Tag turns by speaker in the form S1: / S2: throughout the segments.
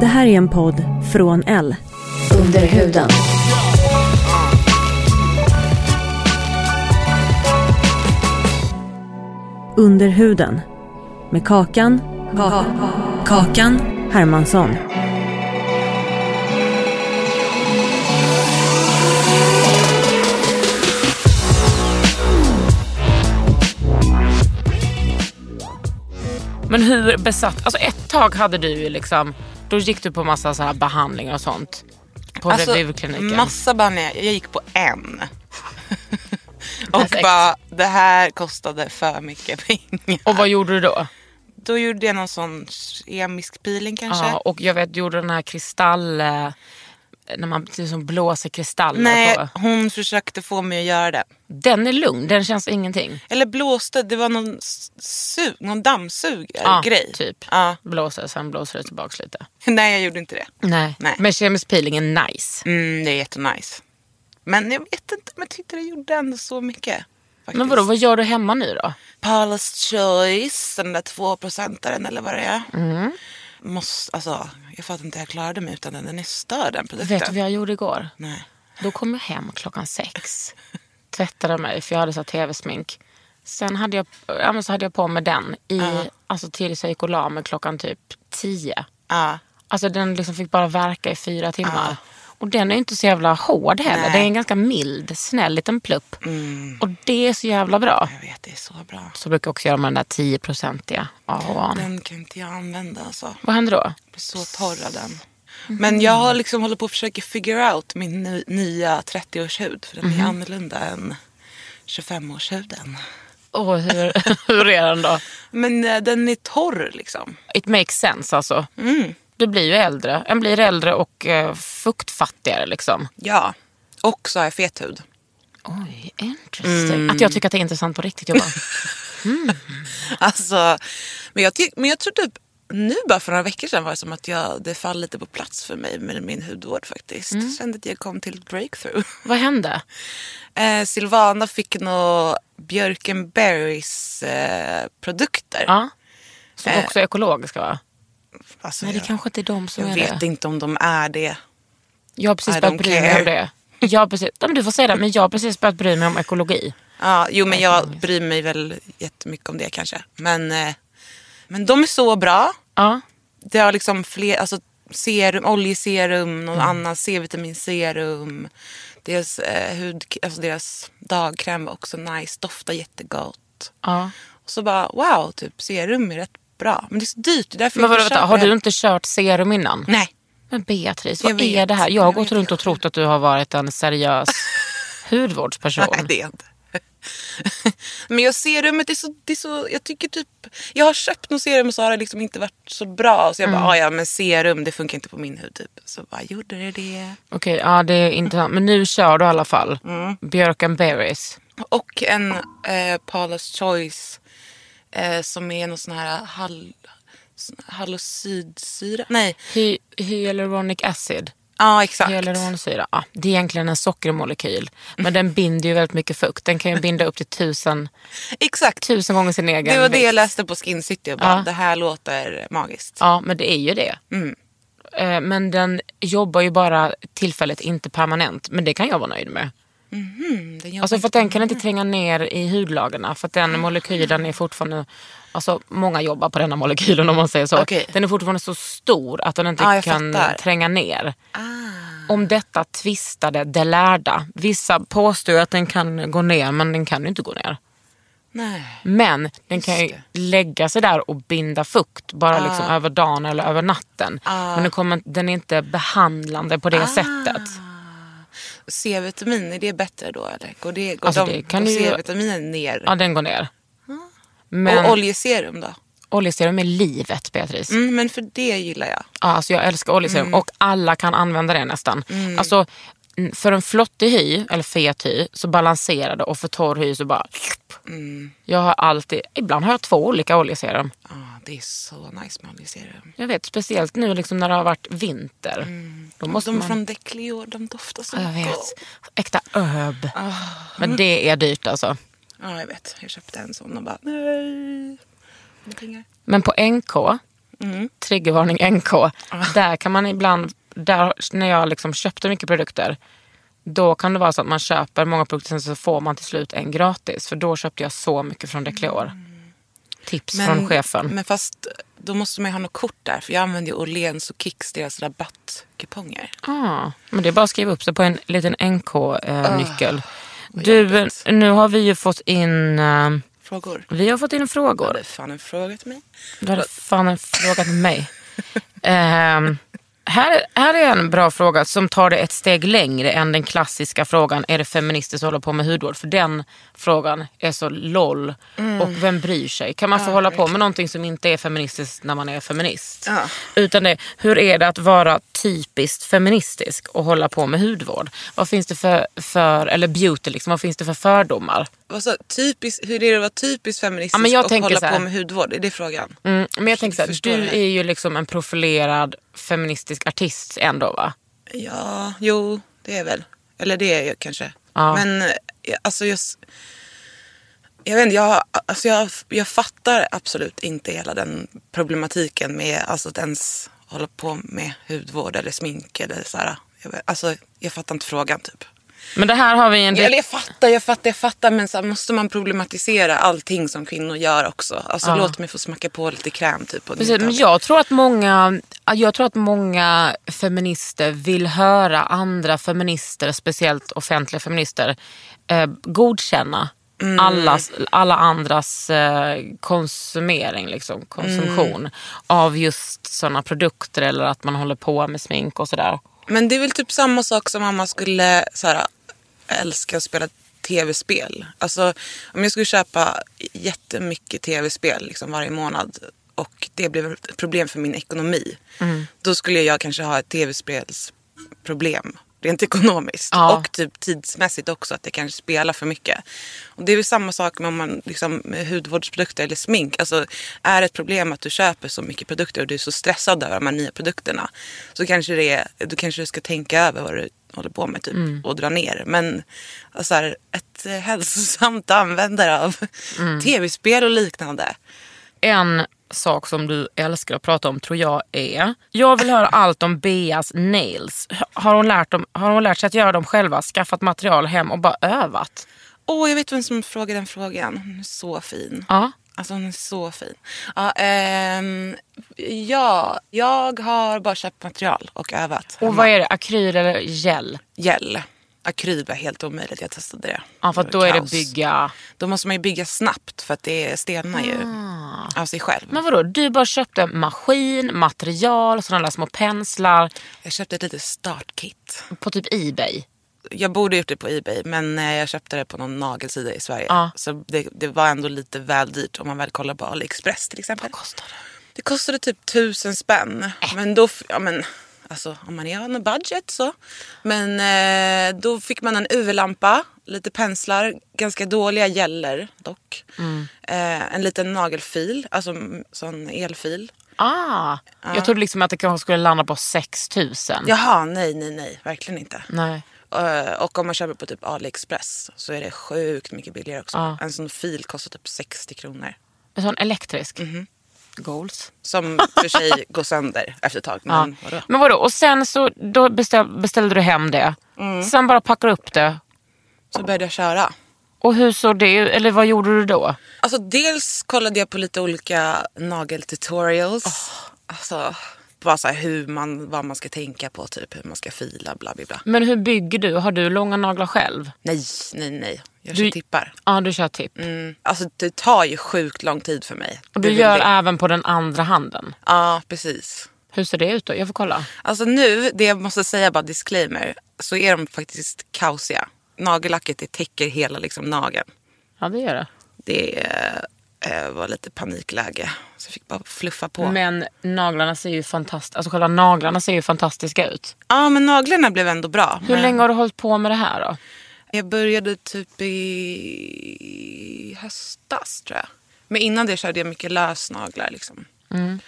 S1: Det här är en podd från L.
S2: Under huden.
S1: Under huden. Med Kakan. Ka- kakan Hermansson.
S3: Men hur besatt... Alltså ett tag hade du ju liksom... Då gick du på massa så här behandlingar och sånt. På revirkliniken.
S4: Alltså, massa behandlingar. Jag gick på en. och
S3: Perfekt.
S4: bara, det här kostade för mycket pengar.
S3: Och vad gjorde du då?
S4: Då gjorde jag någon sån kemisk peeling kanske.
S3: Ja, Ah, och jag vet, du gjorde den här kristall... eh, När man liksom blåser kristaller
S4: Nej,
S3: på.
S4: hon försökte få mig att göra det.
S3: Den är lugn, den känns ingenting.
S4: Eller blåste, det var någon, s- su- någon
S3: Ja,
S4: dammsugargrej.
S3: typ.
S4: Ja.
S3: Blåser, sen blåser det tillbaks lite.
S4: Nej, jag gjorde inte det.
S3: Nej.
S4: Nej.
S3: Men kemisk peeling är nice.
S4: Mm, det är jättenice. Men jag vet inte, men jag tyckte det gjorde ändå så mycket. Faktiskt.
S3: Men vadå, vad gör du hemma nu då?
S4: Paula's Choice, den där tvåprocentaren eller vad det är.
S3: Mm.
S4: Måste, alltså, jag fattar inte hur jag klarade mig utan den. Den är störd den produkten.
S3: Vet du vad jag gjorde igår?
S4: Nej.
S3: Då kom jag hem klockan sex. Tvättade mig för jag hade så här tv-smink. Sen hade jag, ja, men så hade jag på mig den i, alltså tills jag gick och la mig klockan typ tio.
S4: Ja.
S3: Alltså den liksom fick bara verka i fyra timmar. Och den är ju inte så jävla hård heller. Den är en ganska mild, snäll liten plupp.
S4: Mm.
S3: Och det är så jävla bra.
S4: jag vet, det är så bra.
S3: Så brukar jag också göra med den där 10-procentiga AHAn.
S4: Den kan inte jag använda alltså.
S3: Vad händer då?
S4: Jag blir så torr av den.
S3: Mm.
S4: Men jag har liksom håller på att försöka figure out min ny, nya 30-årshud. För
S3: Mm.
S4: den är annorlunda än 25-årshuden.
S3: Åh, hur, hur är den då?
S4: Men eh, den är torr liksom.
S3: It makes sense alltså. Du blir ju äldre. En blir äldre och eh, fuktfattigare liksom.
S4: Ja. Och så har jag fet hud.
S3: Oj, interesting. Mm. Att jag tycker att det är intressant på riktigt. Jag bara,
S4: Alltså, men, jag tyck, men jag tror typ nu bara för några veckor sedan var det som att jag, det fall lite på plats för mig med min hudvård faktiskt.
S3: Mm.
S4: Jag kände att jag kom till ett breakthrough.
S3: vad hände?
S4: Eh, Silvana fick nå Björkenbergs eh, produkter.
S3: Ja. Som
S4: Eh.
S3: också är ekologiska va?
S4: Alltså,
S3: Äh. Nej, det
S4: jag,
S3: kanske inte är de som
S4: jag
S3: är
S4: vet
S3: det.
S4: inte om de är det.
S3: Jag har precis
S4: I
S3: börjat
S4: don't
S3: bry mig
S4: care.
S3: om det. Jag har precis, Nej, men du får säga det, men jag har precis börjat bry mig om ekologi.
S4: Ja, jo, men jag bryr mig väl jättemycket om det kanske. Men, eh, men de är så bra.
S3: Ja.
S4: Det har liksom fler, alltså serum, oljeserum, någon
S3: Mm.
S4: annan C-vitaminserum. Deras, eh, hud, alltså deras dagkräm var också nice, doftar jättegott.
S3: ja.
S4: Och så bara wow, typ serum är rätt bra. Men det är så dyrt. Det är därför
S3: Men
S4: jag
S3: vadå,
S4: inte
S3: vänta,
S4: köper
S3: har
S4: det.
S3: du inte kört serum innan?
S4: Nej.
S3: Men Beatrice,
S4: Jag
S3: vad
S4: vet,
S3: är det här? Jag har
S4: jag
S3: gått
S4: vet.
S3: runt och trott att du har varit en seriös hudvårdsperson.
S4: Nej, det är jag inte. Men jag serumet är så, det är så, jag tycker typ, jag har köpt något serum och så har det liksom inte varit så bra. Så jag
S3: Mm.
S4: bara, ah, ja men serum det funkar inte på min hud typ. Så bara, gjorde det det?
S3: Okej, ja det är intressant. Men nu kör du i alla fall.
S4: Mm.
S3: Björk and Berries.
S4: Och en eh, Paula's Choice eh, som är någon sån här hall, sån- hallucidsyra. Nej,
S3: Hy- hyaluronic acid.
S4: ja exakt.
S3: Hyaluronsyra. Ja, det är egentligen en sockermolekyl. Men den binder ju väldigt mycket fukt. Den kan ju binda upp till tusen,
S4: Exakt.
S3: tusen gånger sin egen
S4: Det var det jag
S3: vikt.
S4: läste på Skin City och bara,
S3: Ja.
S4: det här låter magiskt.
S3: Ja, men det är ju det.
S4: Mm.
S3: Eh, Men den jobbar ju bara tillfälligt, inte permanent. Men det kan jag vara nöjd med.
S4: Mhm, den jobbar
S3: Alltså för
S4: inte
S3: att den kan inte tränga ner i hudlagren för att den molekylen är fortfarande, alltså många jobbar på denna molekylen om man säger så.
S4: Okej.
S3: Den är fortfarande så stor att den inte
S4: Ja, jag
S3: kan
S4: fattar.
S3: tränga ner.
S4: Ah.
S3: Om detta tvistade de lärda. Vissa påstår ju att den kan gå ner men den kan ju inte gå ner.
S4: Nej.
S3: Men den kan ju
S4: Just
S3: lägga sig där och binda fukt bara
S4: Ah.
S3: liksom över dagen eller över natten.
S4: Ah.
S3: Men den, kommer, den är inte behandlande på det sättet.
S4: C-vitamin, är det bättre då eller? Går, det, går,
S3: Alltså,
S4: de,
S3: det kan
S4: går
S3: ju-
S4: C-vitaminen ner?
S3: Ja, den går ner. Men
S4: Ah. Och oljeserum då?
S3: oljeserum är livet, Beatrice.
S4: Mm, men för det gillar jag.
S3: Ja, alltså jag älskar oljeserum
S4: Mm.
S3: och alla kan använda det nästan. Alltså, n- för en flottig hy, eller fet hy, så balanserar det och för torr hy så bara...
S4: Mm.
S3: Jag har alltid, ibland har jag två olika oljeserum.
S4: Ah, det är så nice med oljeserum.
S3: Jag vet, speciellt nu liksom när det har varit vinter. Då måste
S4: Mm.
S3: man...
S4: De från Declior, de doftar så
S3: Ja, jag vet.
S4: gott.
S3: Äkta öb.
S4: Ah.
S3: Men det är dyrt alltså.
S4: Ja, jag vet. Jag köpte en sån och bara nej. Med pengar.
S3: Men på NK, Mm. triggervarning NK,
S4: Ah.
S3: där kan man ibland, där, när jag liksom köpte mycket produkter, då kan det vara så att man köper många produkter sen så får man till slut en gratis. För då köpte jag så mycket från Declior. Tips från chefen.
S4: Mm. Men fast då måste man ju ha något kort där. För jag använder ju Åhléns och Kicks, deras rabattkuponger.
S3: Ah, men det är bara att skriva upp sig på en liten NK-nyckel. du,
S4: Ah. jobbigt.
S3: nu har vi ju fått in, eh,
S4: Frågor?
S3: vi har fått in
S4: Har
S3: frågor.
S4: du fan en fråga till mig?
S3: Du hade fan frågat mig. Ehm, här, här är en bra fråga som tar det ett steg längre än den klassiska frågan, är det feminister som håller på med hudvård? För den frågan är så LOL och vem bryr sig? Kan man få hålla på med någonting som inte är feministiskt när man är feminist?
S4: Ja.
S3: Utan det, hur är det att vara typiskt feministisk och hålla på med hudvård? Vad finns det för, för eller beauty liksom, vad finns det för fördomar?
S4: Vad sa- typiskt, hur är det att vara typiskt feministisk
S3: Ja, men jag
S4: och
S3: tänker så
S4: hålla
S3: här.
S4: på med hudvård? Är det frågan?
S3: Mm, men jag tänker så här,
S4: Förstår
S3: du
S4: det.
S3: är ju liksom en profilerad feministisk artist ändå va?
S4: Ja, jo, det är väl. Eller det är jag kanske.
S3: Ja.
S4: Men eh, alltså just... Jag vet inte, jag, alltså jag, jag fattar absolut inte hela den problematiken med alltså att ens hålla på med hudvård eller smink eller så här. Jag, vet- alltså, jag fattar inte frågan typ.
S3: Men det här har vi en...
S4: Eller jag fattar, jag fattar, jag fattar men så här, måste man problematisera allting som kvinnor gör också? Alltså
S3: Ja.
S4: låt mig få smacka på lite kräm typ. Och
S3: Precis, men jag tror, att många, jag tror att många feminister vill höra andra feminister, speciellt offentliga feminister, eh, godkänna
S4: Mm.
S3: allas, alla andras eh, konsumering, liksom, konsumtion
S4: Mm.
S3: av just sådana produkter eller att man håller på med smink och sådär.
S4: Men det är väl typ samma sak som om man skulle så här, älska att spela tv-spel. Alltså om jag skulle köpa jättemycket tv-spel liksom, varje månad och det blev ett problem för min ekonomi. Då skulle jag kanske ha ett tv-spelsproblem. Rent ekonomiskt
S3: Ja.
S4: och typ tidsmässigt också att jag kanske spelar för mycket. Och det är väl samma sak med, om man, liksom, med hudvårdsprodukter eller smink. Alltså, är det ett problem att du köper så mycket produkter och du är så stressad över de här nya produkterna så kanske det är, du kanske ska tänka över vad du håller på med typ, och dra ner. Men alltså, här, ett eh, hälsosamt användare av tv-spel och liknande.
S3: En sak som du älskar att prata om tror jag är... Jag vill höra allt om Beas nails. Har hon lärt, dem, har hon lärt sig att göra dem själva, skaffat material hem och bara övat?
S4: Åh, jag vet vem som frågade den frågan. Hon är så fin.
S3: Ja.
S4: Alltså hon är så fin. Ja, ehm, ja, jag har bara köpt material och övat.
S3: Och vad är det? Akryl eller gel?
S4: Gel. Akryl var helt omöjligt, jag testade det.
S3: Ja, för att då
S4: var
S3: är det
S4: kaos.
S3: bygga...
S4: Då måste man ju bygga snabbt för att det stelnar ju av sig själv.
S3: Ah. Men vadå, du bara köpte maskin, material, sådana där små penslar
S4: Jag köpte ett litet startkit.
S3: på typ Ebay.
S4: Jag borde gjort det på Ebay men eh, jag köpte det på någon nagelsida i Sverige.
S3: Ja.
S4: Så det, det var ändå lite väl dyrt om man väl kollar på AliExpress till exempel. Vad kostade det? Det kostade typ tusen spänn.
S3: Äh.
S4: Men då, f- ja men alltså om man är on a budget så. Men eh, då fick man en UV-lampa, lite penslar, ganska dåliga gäller dock.
S3: Mm.
S4: Eh, en liten nagelfil, alltså en sån elfil.
S3: Ah, Jag trodde liksom att det kanske skulle landa på 6000.
S4: Jaha, nej, nej, nej, verkligen inte.
S3: Nej.
S4: Eh, Och om man köper på typ AliExpress så är det sjukt mycket billigare också.
S3: Ja.
S4: En sån fil kostar typ 60 kronor.
S3: En sån elektrisk.
S4: Mhm.
S3: Goals.
S4: Som för sig går sönder efter ett tag. Men vadå?
S3: ja. Mm. men vadå, och sen så då beställ, beställde du hem det. Sen bara packar du upp det
S4: Så började jag köra.
S3: Och hur såg det ut? Eller vad gjorde du då?
S4: Alltså dels kollade jag på lite olika nageltutorials.
S3: Oh.
S4: Alltså bara så här hur man, vad man ska tänka på, typ hur man ska fila, bla bla bla.
S3: Men hur bygger du? Har du långa naglar själv?
S4: Nej, nej, nej. Jag
S3: Du-
S4: kör tippar.
S3: Ja, du kör tipp.
S4: Mm. Alltså det tar ju sjukt lång tid för mig.
S3: Och du
S4: Det vill
S3: gör
S4: jag.
S3: även på den andra handen.
S4: Ja, precis.
S3: Hur ser det ut då? Jag får kolla.
S4: Alltså nu, det jag måste säga bara disclaimer, så är de faktiskt kaosiga. Nagellacket det täcker hela liksom nageln.
S3: Ja, det gör det.
S4: Det eh, var lite panikläge. Så jag fick bara fluffa på.
S3: Men naglarna ser ju fantastiska Alltså själva naglarna ser ju fantastiska ut.
S4: Ja, men naglarna blev ändå bra.
S3: Hur
S4: men
S3: länge har du hållit på med det här då?
S4: Jag började typ i höstas tror jag. Men innan det körde jag mycket lösnaglar liksom.
S3: Mm.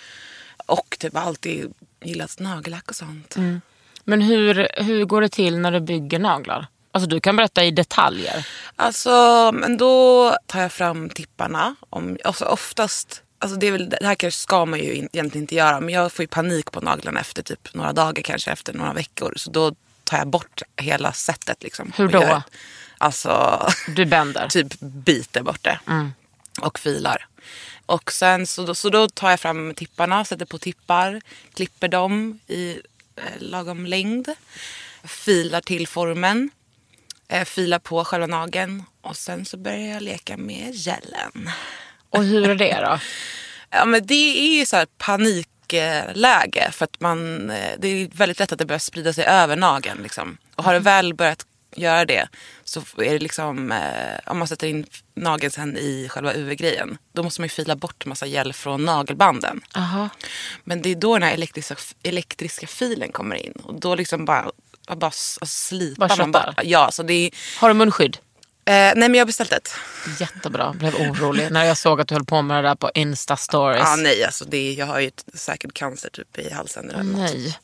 S4: Och typ alltid gillat nagellack och sånt.
S3: Mm. Men hur, hur går det till när du bygger naglar? Alltså du kan berätta i detaljer.
S4: Alltså, men då tar jag fram tipparna. Om, alltså oftast, alltså det, är väl, det här kanske ska man ju in- egentligen inte göra, men jag får ju panik på naglarna efter typ några dagar, kanske efter några veckor. Så då tar jag bort hela sättet. Liksom,
S3: Hur
S4: och
S3: då?
S4: gör- Alltså,
S3: Du bänder.
S4: typ biter bort det och filar. Och sen så då, så då tar jag fram tipparna, sätter på tippar, klipper dem i eh, lagom längd, filar till formen, eh, filar på själva nageln och sen så börjar jag leka med gelen.
S3: Och hur är det då?
S4: Ja, men det är ju så här panikläge för att man, eh, det är väldigt lätt att det börjar sprida sig över nageln. Liksom. Och
S3: Mm.
S4: har det väl börjat göra det så är det liksom, eh, om man sätter in nageln sen i själva UV-grejen, då måste man ju fila bort massa gel från nagelbanden.
S3: Aha.
S4: Men det är då den här elektriska, elektriska filen kommer in och då liksom bara, bara s- alltså
S3: Bara
S4: slipar man
S3: köttar?
S4: bara. Ja, så det är,
S3: Har du munskydd?
S4: eh, nej men jag har beställt ett.
S3: Jättebra. Blev orolig när jag såg att du höll på med det där på Insta stories.
S4: Ah, nej, alltså det är, jag har ju ett, säkert cancer typ i halsen eller något.
S3: nej.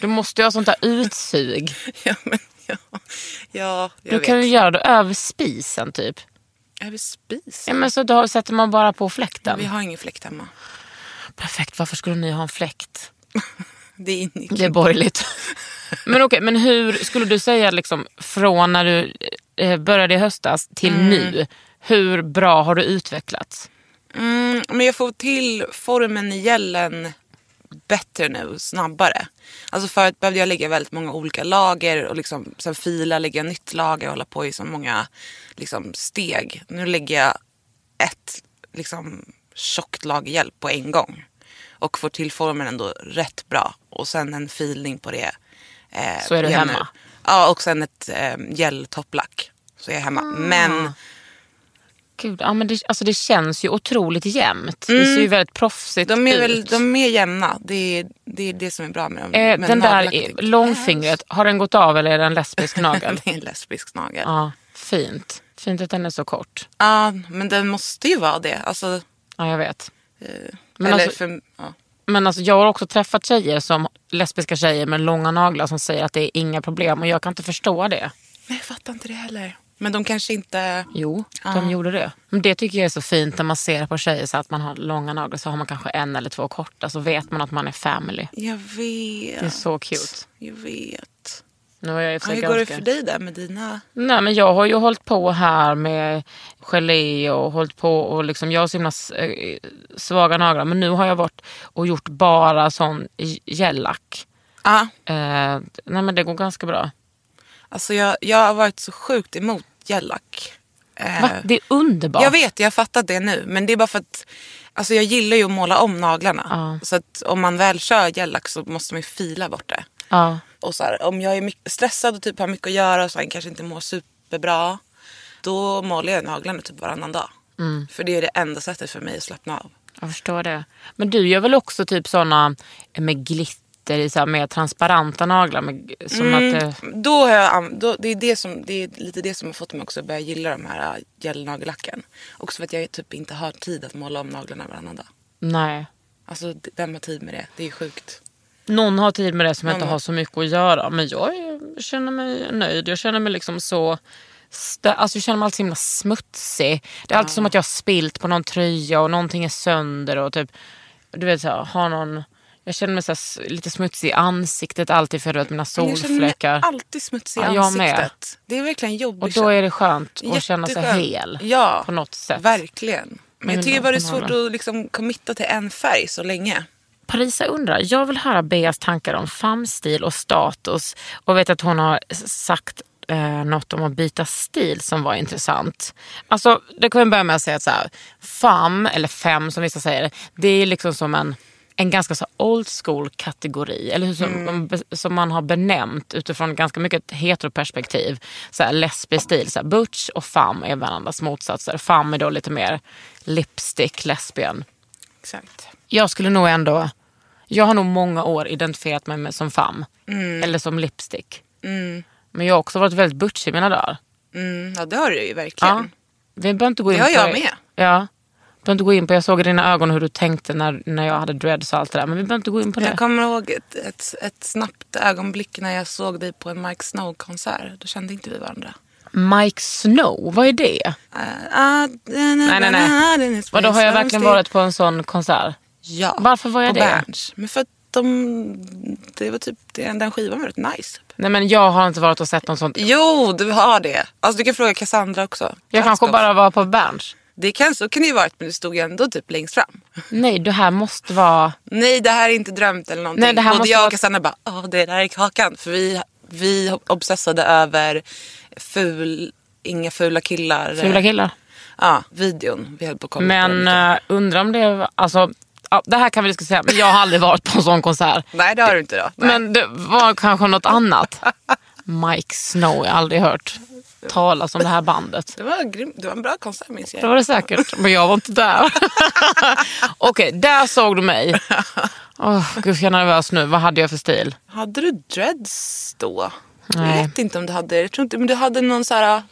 S3: Du måste ju ha sånt där utsug.
S4: Ja, men ja. Ja, jag
S3: Du
S4: vet.
S3: kan ju göra det över spisen typ.
S4: Över
S3: Ja,
S4: spisen?
S3: men så då sätter man bara på fläkten.
S4: Vi har ingen fläkt hemma.
S3: Perfekt, varför skulle ni ha en fläkt?
S4: Det är inne i
S3: Det är borgerligt. men okej, men hur skulle du säga liksom, från när du eh, började i höstas till nu, hur bra har du utvecklats?
S4: Mm, men jag får till formen i gällen bättre nu, snabbare. Alltså förut behövde jag lägga väldigt många olika lager och liksom, sen fila, lägga nytt lager och hålla på i så många liksom, steg. Nu lägger jag ett liksom, tjockt lager gel på en gång och får till formen ändå rätt bra. Och sen en filning på det. eh,
S3: Så är du
S4: igen nu.
S3: hemma?
S4: Ja, och sen ett eh, geltopplack. Så är jag hemma.
S3: Ah.
S4: Men
S3: Gud, ja, men det, alltså, det känns ju otroligt jämnt. Det ser ju väldigt proffsigt
S4: Mm. De är,
S3: ut.
S4: väl, de är jämna. Det är, det är det som är bra med dem.
S3: Eh,
S4: Men
S3: den där
S4: nagellack
S3: i-
S4: tycker jag-
S3: långfingret, har den gått av eller är det en lesbisk nagel?
S4: det är en lesbisk nagel. Ja,
S3: ja, fint. Fint att den är så kort.
S4: men den måste ju vara det. Alltså, eh,
S3: Ja, jag vet. Men
S4: eller
S3: alltså-
S4: för, ja.
S3: Men alltså, jag har också träffat tjejer som lesbiska tjejer med långa naglar som säger att det är inga problem och jag kan inte förstå det.
S4: Nej, jag fattar inte det heller. Men de kanske inte...
S3: Jo, de
S4: Ja.
S3: gjorde det. Men det tycker jag är så fint när man ser på tjejer så att man har långa naglar så har man kanske en eller två korta så vet man att man är family.
S4: Jag vet.
S3: Det är så cute.
S4: Jag vet.
S3: Nu har jag i och för
S4: Ja,
S3: sig
S4: hur går det
S3: ganska-
S4: för dig där med dina...
S3: Nej men jag har ju hållit på här med gelé och hållit på och liksom jag har så himla s- eh, svaga naglar men nu har jag varit och gjort bara sån j- gellack.
S4: Ja,
S3: Eh, nej men det går ganska bra.
S4: alltså jag, jag har varit så sjukt emot gellack. Eh,
S3: Va? Det är underbart.
S4: Jag vet, jag har fattat det nu. Men det är bara för att alltså jag gillar ju att måla om naglarna.
S3: Ja.
S4: Så att om man väl kör gellack så måste man ju fila bort det.
S3: Ja.
S4: Och så här, om jag är mycket stressad och typ har mycket att göra och så här, kanske inte mår superbra. Då målar jag naglarna typ varannan dag. För det är det enda sättet för mig att slappna av.
S3: Jag förstår det. Men du gör väl också typ såna med glitter i, så här, mer transparenta naglar? Med, som att, eh,
S4: Mm. Då har jag, an- då, det, är det, som, det är lite det som har fått mig också att börja gilla de här äh, gelnagellacken. Också för att jag typ inte har tid att måla om naglarna varannan dag.
S3: nej.
S4: Alltså d- vem har tid med det? Det är sjukt.
S3: Någon har tid med det som inte
S4: Någon
S3: har
S4: har-
S3: så mycket att göra. Men jag är, känner mig nöjd. Jag känner mig liksom så... Stä- alltså jag känner mig alltid så himla smutsig. Det är alltid som att jag har spilt på någon tröja och någonting är sönder. Och typ, du vet, så här, har någon Jag känner mig så här, s- lite smutsig i ansiktet alltid för att mina
S4: Men jag känner mig
S3: solfläckar.
S4: alltid smutsig i
S3: Ja, jag med.
S4: ansiktet. Det är verkligen jobbigt.
S3: Och då är det skönt att känna sig
S4: Jätteskönt.
S3: hel
S4: ja,
S3: på något sätt.
S4: Verkligen. Men jag
S3: Men
S4: tycker bara det är
S3: de
S4: svårt
S3: håller.
S4: att liksom committa till en färg så länge.
S3: Parisa undrar, jag vill höra Beas tankar om famstil och status och vet att hon har sagt eh, något om att byta stil som var intressant. Alltså, det kan vi börja med att säga att så här, fam, eller fem som vissa säger, det är liksom som en, en ganska så här old school kategori, eller hur som, som man har benämnt utifrån ganska mycket ett heteroperspektiv. Så här, lesbisk stil, så här, butch och fam är varandras motsatser. Fam är då lite mer lipstick, lesbian.
S4: Exakt.
S3: Jag skulle nog ändå... Jag har nog många år identifierat mig med, som fam.
S4: Mm.
S3: Eller som lipstick. Men jag har också varit väldigt butch i mina dagar.
S4: Mm, ja, det har du ju verkligen.
S3: Vi behöver inte gå in
S4: Det har
S3: på
S4: jag med.
S3: Ja. Behöver inte gå in på, jag såg i dina ögon hur du tänkte när, när jag hade dreads och allt det där. Men vi behöver inte gå in på det.
S4: Jag kommer ihåg ett, ett, ett snabbt ögonblick när jag såg dig på en Mike Snow-konsert. Då kände inte vi varandra. Eh,
S3: Mike Snow, vad är det?
S4: nej,
S3: Nej, nej,
S4: Ah,
S3: nej. Vadå, har jag verkligen varit på en sån konsert?
S4: Ja,
S3: Varför var jag
S4: på
S3: det?
S4: Berns. Men för att de... Det var typ... det- Den skivan var rätt nice. Typ.
S3: Nej men jag har inte varit och sett någon sån.
S4: Jo, du har det. Alltså, du kan fråga Cassandra också.
S3: Jag kanske
S4: Kraskow.
S3: bara var på Berns.
S4: Det kan, så kan det ju varit, men du stod ju ändå typ längst fram.
S3: Nej, det här måste vara...
S4: Nej, det här är inte drömt eller någonting.
S3: Nej, det här
S4: Både
S3: måste
S4: jag
S3: vara-
S4: och Cassandra bara, åh, det där är Kakan. För vi, vi obsessade över ful, inga fula killar.
S3: Fula killar.
S4: Ja, videon. Vi höll på att kolla på.
S3: Men
S4: den.
S3: eh, undrar om det var- alltså, ja, det här kan vi diskutera, men jag har aldrig varit på en sån konsert.
S4: Nej, det har du inte då. Nej.
S3: Men det var kanske något annat. Mike Snow, jag har aldrig hört talas om det här bandet.
S4: Det var, grym, det var en bra konsert minns
S3: Det
S4: jag.
S3: var det säkert, men jag var inte där. Okej, där såg du mig. Åh, Gud, jag är nervös nu. Vad hade jag för stil?
S4: Hade du dreads då?
S3: Nej.
S4: Jag vet inte om du hade Jag tror inte, men du hade någon så här...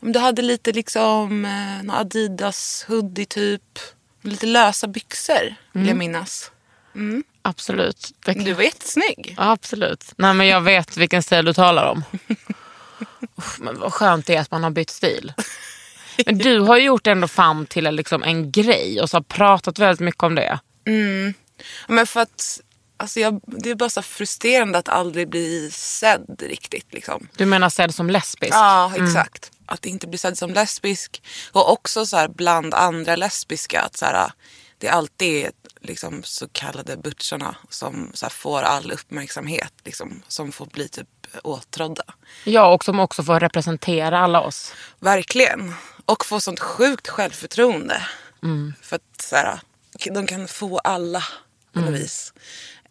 S4: Om du hade lite liksom eh, någon Adidas hoodie typ. Lite lösa byxor vill jag minnas.
S3: Absolut. Det kan...
S4: Du var jättesnygg.
S3: Absolut. Nej, men jag vet vilken stil du talar om. Uff, men vad skönt det är att man har bytt stil. Men du har ju gjort ändå fram till en, liksom, en grej och så har pratat väldigt mycket om det.
S4: Ja, Men för att alltså jag, det är bara så frustrerande att aldrig bli sedd riktigt. Liksom.
S3: Du menar sedd som lesbisk?
S4: Ja, exakt. Att inte bli sedd som lesbisk. Och också så här bland andra lesbiska. Att så här, det alltid är liksom så kallade butcharna som så här får all uppmärksamhet. Liksom, som får bli typ åtrådda.
S3: Ja, och som också får representera alla oss.
S4: Verkligen. Och få sånt sjukt självförtroende. För att så här, de kan få alla på något vis.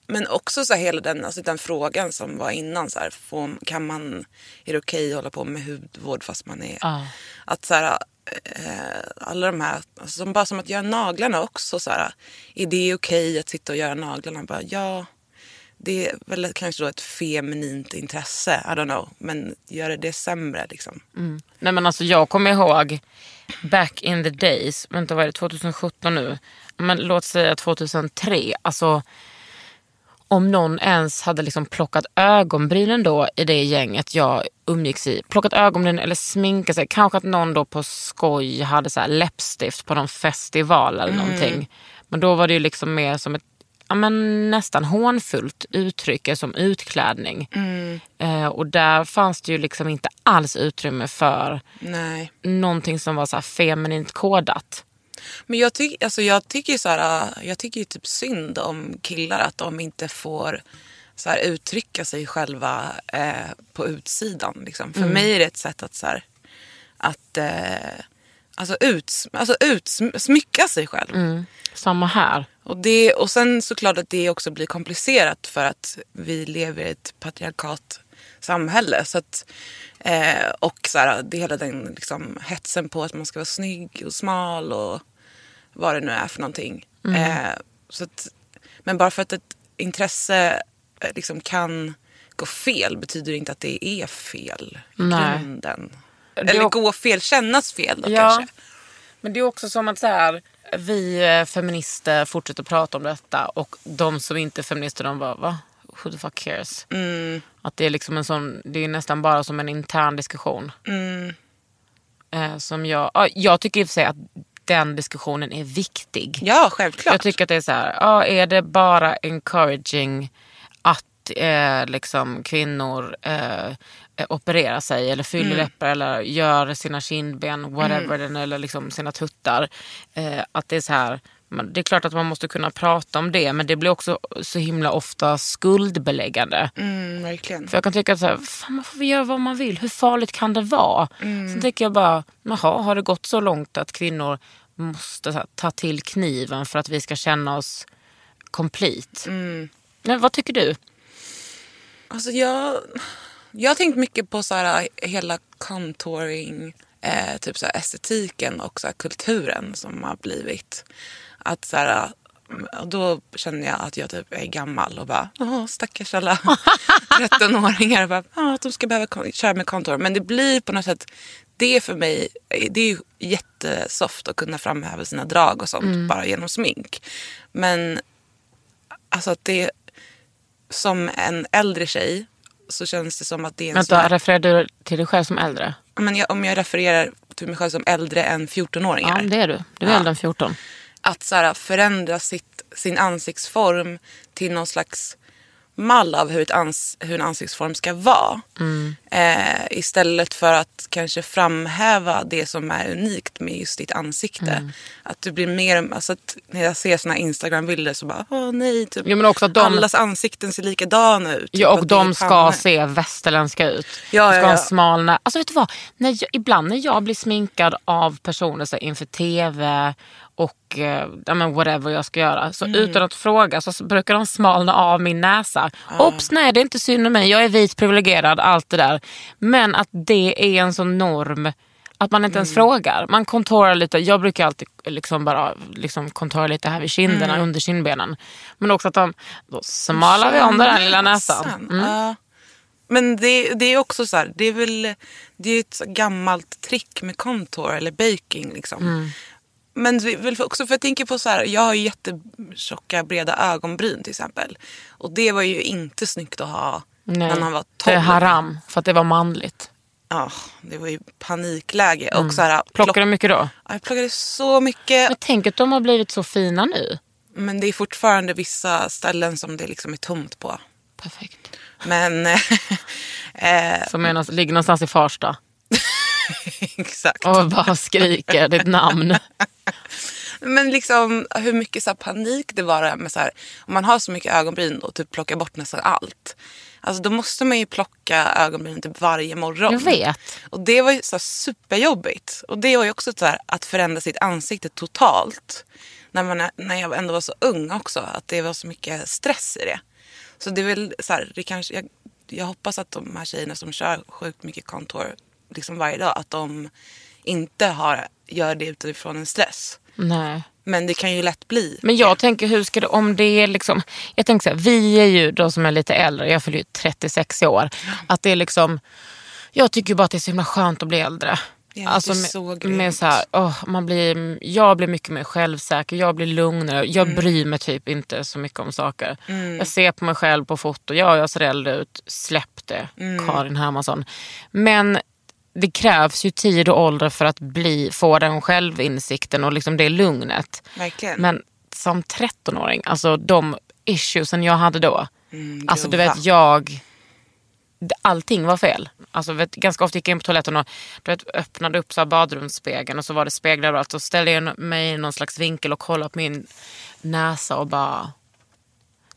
S4: Men också så här, hela den, alltså, den frågan som var innan. Så här, får, kan man, är det okej att hålla på med hudvård fast man är...
S3: Ja.
S4: Att så här, eh, alla de här, alltså, som, bara som att göra naglarna också. Så här, är det okej att sitta och göra naglarna? Bara, ja, det är väl kanske då ett feminint intresse. I don't know. Men gör det sämre liksom.
S3: Nej, men alltså, jag kommer ihåg back in the days, vänta vad är det, 2017 nu? Men låt säga 2003. Alltså, om någon ens hade liksom plockat ögonbrynen då i det gänget jag umgicks i. Plockat ögonbrynen eller sminkat sig. Kanske att någon då på skoj hade så här läppstift på någon festival eller någonting. Men då var det ju liksom mer som ett ja, men nästan hånfullt uttryck som utklädning. Eh, och där fanns det ju liksom inte alls utrymme för
S4: Nej.
S3: någonting som var så här feminint kodat.
S4: Men jag, tyck, alltså jag tycker ju så här, äh, jag tycker ju typ synd om killar att de inte får så här, uttrycka sig själva eh, på utsidan. Liksom. För mig är det ett sätt att, så här, att eh, alltså uts, alltså utsmycka sig själv.
S3: Samma här.
S4: Och, det, och sen såklart att det också blir komplicerat för att vi lever i ett patriarkat samhälle. Så att, eh, och så här, det hela den liksom, hetsen på att man ska vara snygg och smal och vad det nu är för någonting.
S3: Mm.
S4: Eh, så att, men bara för att ett intresse eh, liksom, kan gå fel betyder det inte att det är fel i
S3: Nej.
S4: grunden.
S3: Det-
S4: Eller gå fel, kännas fel då
S3: Ja.
S4: kanske.
S3: Men det är också som att så här, vi eh, feminister fortsätter prata om detta och de som inte är feminister de bara va? Who the fuck cares?
S4: Mm.
S3: Att det är liksom en sån, det är nästan bara Mm. som en intern diskussion. Eh, som jag, ja, jag tycker i och för sig att den diskussionen är viktig.
S4: Ja, självklart.
S3: Jag tycker att det är så här, ja, är det bara encouraging att eh, liksom, kvinnor eh, eh, opererar sig eller fyller läppar eller gör sina kindben, whatever, mm. eller liksom sina tuttar. Eh, att det är så här, men det är klart att man måste kunna prata om det men det blir också så himla ofta skuldbeläggande.
S4: mm, verkligen.
S3: För jag kan tycka att så här, fan, man får väl göra vad man vill. Hur farligt kan det vara? Sen tänker jag bara, jaha, har det gått så långt att kvinnor måste så här, ta till kniven för att vi ska känna oss complete? Men vad tycker du?
S4: Alltså jag, jag har tänkt mycket på så här, hela contouring, eh, typ så här, estetiken och så här, kulturen som har blivit. Att så här, och då känner jag att jag typ är gammal och bara, åh stackars alla 13-åringar. och Bara, "Ja, att de ska behöva kon- köra med contour. Men det blir på något sätt, det är för mig, det är ju jättesoft att kunna framhäva sina drag och sånt bara genom smink. Men alltså att det, som en äldre tjej så känns det som att det är en sån
S3: Vänta,
S4: här,
S3: refererar du till dig själv som äldre?
S4: men jag, om jag refererar till mig själv som äldre än 14-åringar.
S3: Ja, det är du. Du är
S4: Ja.
S3: äldre än 14.
S4: Att så här, förändra sitt, sin ansiktsform till någon slags mall av hur, ett ans, hur en ansiktsform ska vara.
S3: Mm.
S4: Eh, istället för att kanske framhäva det som är unikt med just ditt ansikte.
S3: Mm.
S4: Att du blir mer, alltså att när jag ser såna Instagram-bilder så bara, åh nej, typ,
S3: Jo, men också att de-
S4: allas ansikten ser likadana ut. Typ
S3: Ja, och
S4: att det är
S3: de ska
S4: pannor.
S3: se västerländska ut.
S4: Ja,
S3: de ska
S4: ja,
S3: ha en
S4: ja.
S3: smal nä- Alltså vet du vad? När jag, ibland när jag blir sminkad av personer så här, inför TV och eh, ja, men whatever jag ska göra. Så
S4: Mm.
S3: utan att fråga så s- brukar de smalna av min näsa. Ops, nej det är inte synd om mig. Jag är vit privilegierad, allt det där. Men att det är en sån norm att man inte ens
S4: Mm.
S3: frågar. Man kontorar lite. Jag brukar alltid liksom bara liksom kontora lite här vid kinderna,
S4: Mm.
S3: under kindbenen. Men också att de, då smalar vi om den där lilla näsan. Mm.
S4: Ja. Men det, det är också så här, det är väl det är ett så gammalt trick med contour eller baking. Liksom.
S3: Mm.
S4: Men det är väl för- också för jag tänker på så här, jag har ju jättetjocka breda ögonbryn till exempel. Och det var ju inte snyggt att ha
S3: Nej.
S4: när man var 12.
S3: det är haram, för att det var manligt.
S4: Ja, det var ju panikläge. Och så här,
S3: Mm. Plockar
S4: plock-
S3: de mycket då?
S4: Ja, jag plockade så mycket.
S3: Men tänk att de har blivit så fina nu.
S4: Men det är fortfarande vissa ställen som det liksom är tomt på.
S3: Perfekt.
S4: Men eh,
S3: Som är någonstans, ligger någonstans i Farsta
S4: exakt.
S3: och bara skriker ditt namn.
S4: Men liksom hur mycket så här panik det var med så här, om man har så mycket ögonbryn och typ plockar bort nästan allt. Alltså då måste man ju plocka ögonbrynen typ varje morgon.
S3: Jag vet.
S4: Och det var ju så här superjobbigt. Och det var ju också så här att förändra sitt ansikte totalt. När, man, är- när jag ändå var så ung också, att det var så mycket stress i det. Så det är väl så här, det kanske, jag, jag hoppas att de här tjejerna som kör sjukt mycket kontor liksom varje dag, att de inte har, gör det utifrån en stress.
S3: Nej.
S4: Men det kan ju lätt bli.
S3: Men jag tänker, hur ska det, om det är liksom, jag tänker så här, vi är ju de som är lite äldre, jag fyller ju 36 i år. Att det är liksom, jag tycker ju bara att det är så himla skönt att bli äldre. Alltså,
S4: Ja, det är så
S3: med,
S4: grymt.
S3: med så här, åh, man blir, jag blir mycket mer självsäker, jag blir lugnare,
S4: Mm.
S3: jag bryr mig typ inte så mycket om saker. Jag ser på mig själv på foto, ja jag ser äldre ut, släpp det
S4: Mm.
S3: Karin Hermansson. Men det krävs ju tid och ålder för att bli, få den självinsikten och liksom det lugnet.
S4: Verkligen.
S3: Men som 13-åring, alltså de issuesen jag hade då. alltså du
S4: Mm, grova.
S3: vet, jag... d- Allting var fel. Alltså, vet, ganska ofta gick jag in på toaletten och du vet, öppnade upp så här badrumsspegeln och så var det speglar överallt. Så ställde jag mig i någon slags vinkel och kollade på min näsa och bara...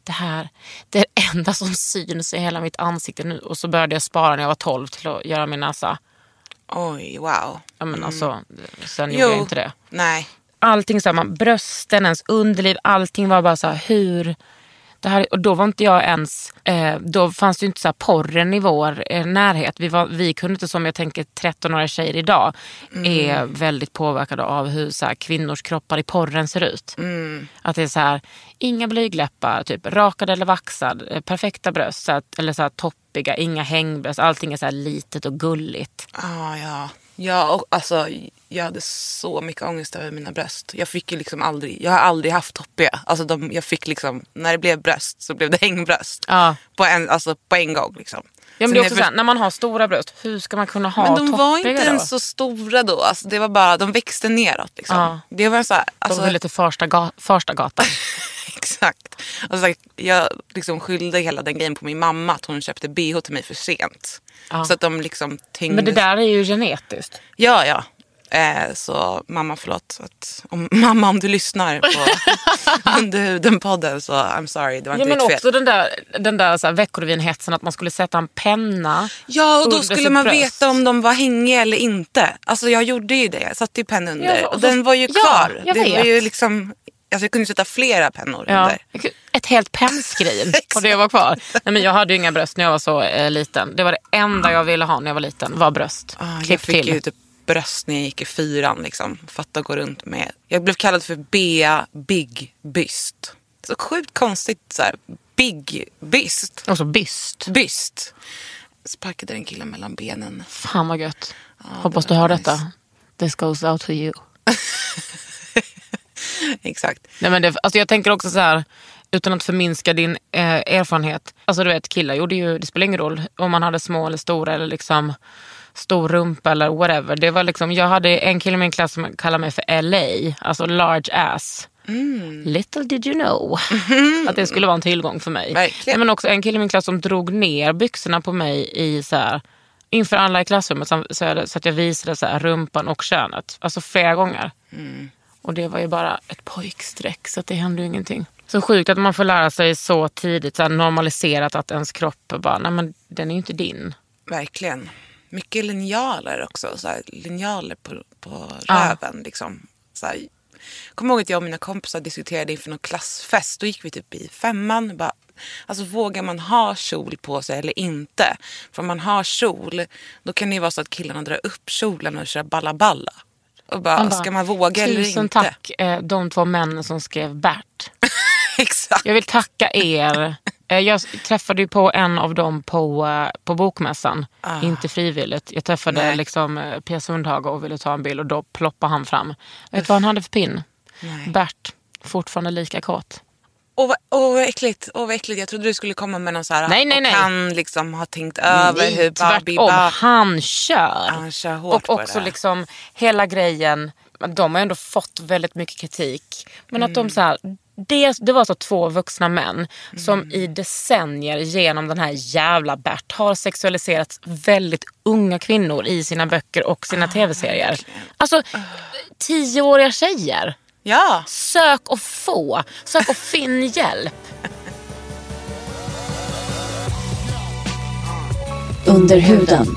S3: Det här det är det enda som syns i hela mitt ansikte nu. Och så började jag spara när jag var 12 till att göra min näsa.
S4: Oj, wow.
S3: Ja, men alltså, sen gjorde jag inte det
S4: Nej.
S3: allting, så här, man, brösten, ens underliv, allting var bara så här, hur... Det här, och då var inte jag ens, eh, då fanns det ju inte så här porren i vår eh, närhet. Vi, var, vi kunde inte som jag tänker 13-åriga tjejer idag
S4: Mm.
S3: är väldigt påverkade av hur så här, kvinnors kroppar i porren ser ut.
S4: Mm.
S3: Att det är så här, inga blygläppar, typ, rakad eller vaxad, eh, perfekta bröst så här, eller så här, toppiga, inga hängbröst. Allting är så här litet och gulligt.
S4: Ah, ja. Ja, och alltså, jag hade så mycket ångest över mina bröst. Jag fick ju liksom aldrig, jag har aldrig haft toppiga. Alltså de, jag fick liksom, när det blev bröst så blev det hängbröst.
S3: Ja.
S4: På, en, alltså, på en gång liksom.
S3: Ja, men
S4: Så
S3: det är
S4: när
S3: också
S4: jag
S3: såhär, när man har stora bröst, hur ska man kunna ha
S4: Men de var
S3: toppiga
S4: inte
S3: då?
S4: ens så stora då. Alltså, det var bara, de växte neråt. Liksom.
S3: Ja.
S4: Det var så här, alltså,
S3: De ville till första, ga- första gatan.
S4: Exakt. Alltså, jag liksom skyllde hela den grejen på min mamma att hon köpte bh till mig för sent.
S3: Ja.
S4: Så att de liksom tyngde.
S3: Men det där är ju genetiskt.
S4: Ja, ja. Eh, så mamma, förlåt. Att, om, mamma, om du lyssnar på Under huden-podden så I'm sorry, det var
S3: Ja,
S4: inte
S3: men
S4: mitt
S3: också
S4: fel.
S3: den där, den där så här veckorevyn-hetsen att man skulle sätta en penna.
S4: Ja, och då
S3: under
S4: skulle
S3: sitt
S4: man
S3: bröst.
S4: veta om de var hängiga eller inte. Alltså jag gjorde ju det. Jag satte ju penn under
S3: Ja,
S4: och
S3: så-
S4: den var ju
S3: ja,
S4: kvar.
S3: jag
S4: det var
S3: vet.
S4: ju liksom... Alltså jag kunde sätta flera pennor
S3: Ja.
S4: under.
S3: Ett helt pennskrin och det var kvar. Nej, men jag hade ju inga bröst när jag var så eh, liten. Det var det enda jag ville ha när jag var liten, var bröst.
S4: Ah, jag
S3: Klipp
S4: fick
S3: till.
S4: ju typ bröst när jag gick i fyran. Liksom. Fatta att gå runt med. Jag blev kallad för Bea Big Byst. Så sjukt konstigt. Så här, big Byst.
S3: Och så byst.
S4: Byst. Sparkade en kille mellan benen.
S3: Fan vad gött.
S4: det
S3: Hoppas du
S4: var
S3: hör
S4: nice.
S3: detta. This goes out to you.
S4: Exakt.
S3: Nej, men det, alltså jag tänker också så här, utan att förminska din eh, erfarenhet. Alltså du vet, killar gjorde ju, det spelar ingen roll om man hade små eller stora eller liksom stor rumpa eller whatever. Det var liksom, jag hade en kille i min klass som kallade mig för LA, alltså large ass. Little did you know att det skulle vara en tillgång för mig.
S4: Verkligen.
S3: Nej, Men också en kille i min klass som drog ner byxorna på mig i så här, inför alla i klassrummet så, så, här- så att jag visade så här, rumpan och könet. Alltså flera gånger. Och det var ju bara ett pojkstreck så att det hände ju ingenting. Så sjukt att man får lära sig så tidigt, så här normaliserat att ens kropp är bara, nej men den är ju inte din.
S4: Verkligen. Mycket linjaler också. Så här, linjaler på, på
S3: Ja.
S4: röven. Liksom. Så här, jag kommer ihåg att jag och mina kompisar diskuterade inför någon klassfest. Då gick vi typ i femman. och Bara, alltså vågar man ha kjol på sig eller inte? För om man har kjol, då kan det ju vara så att killarna drar upp kjolen och kör balla balla. Och bara,
S3: bara,
S4: ska man våga eller inte?
S3: Tusen tack eh, de två männen som skrev Bert.
S4: Exakt.
S3: Jag vill tacka er. Eh, Jag träffade ju på en av dem på, eh, på bokmässan. Inte frivilligt. Jag träffade
S4: Ah. Nej.
S3: liksom eh, Pia Sundhage och ville ta en bild och då ploppade han fram. Vet du vad han hade för pin?
S4: Nej.
S3: Bert. Fortfarande lika kåt.
S4: Åh vad, åh, vad äckligt. Åh, vad äckligt. Jag trodde du skulle komma med någon så här.
S3: Nej, nej,
S4: och
S3: nej.
S4: Han liksom har tänkt över
S3: Nej,
S4: hur Barbie
S3: Tvärtom,
S4: Barbie
S3: han kör.
S4: Han kör hårt
S3: och
S4: på det
S3: också
S4: där.
S3: liksom hela grejen, de har ju ändå fått väldigt mycket kritik. Men att de
S4: Mm.
S3: så här, det, det var så två vuxna män
S4: Mm.
S3: som i decennier genom den här jävla Bert har sexualiserat väldigt unga kvinnor i sina böcker och sina
S4: Ah,
S3: tv-serier. Alltså tioåriga tjejer.
S4: Ja.
S3: Sök och få. Sök och finn hjälp.
S1: Under huden.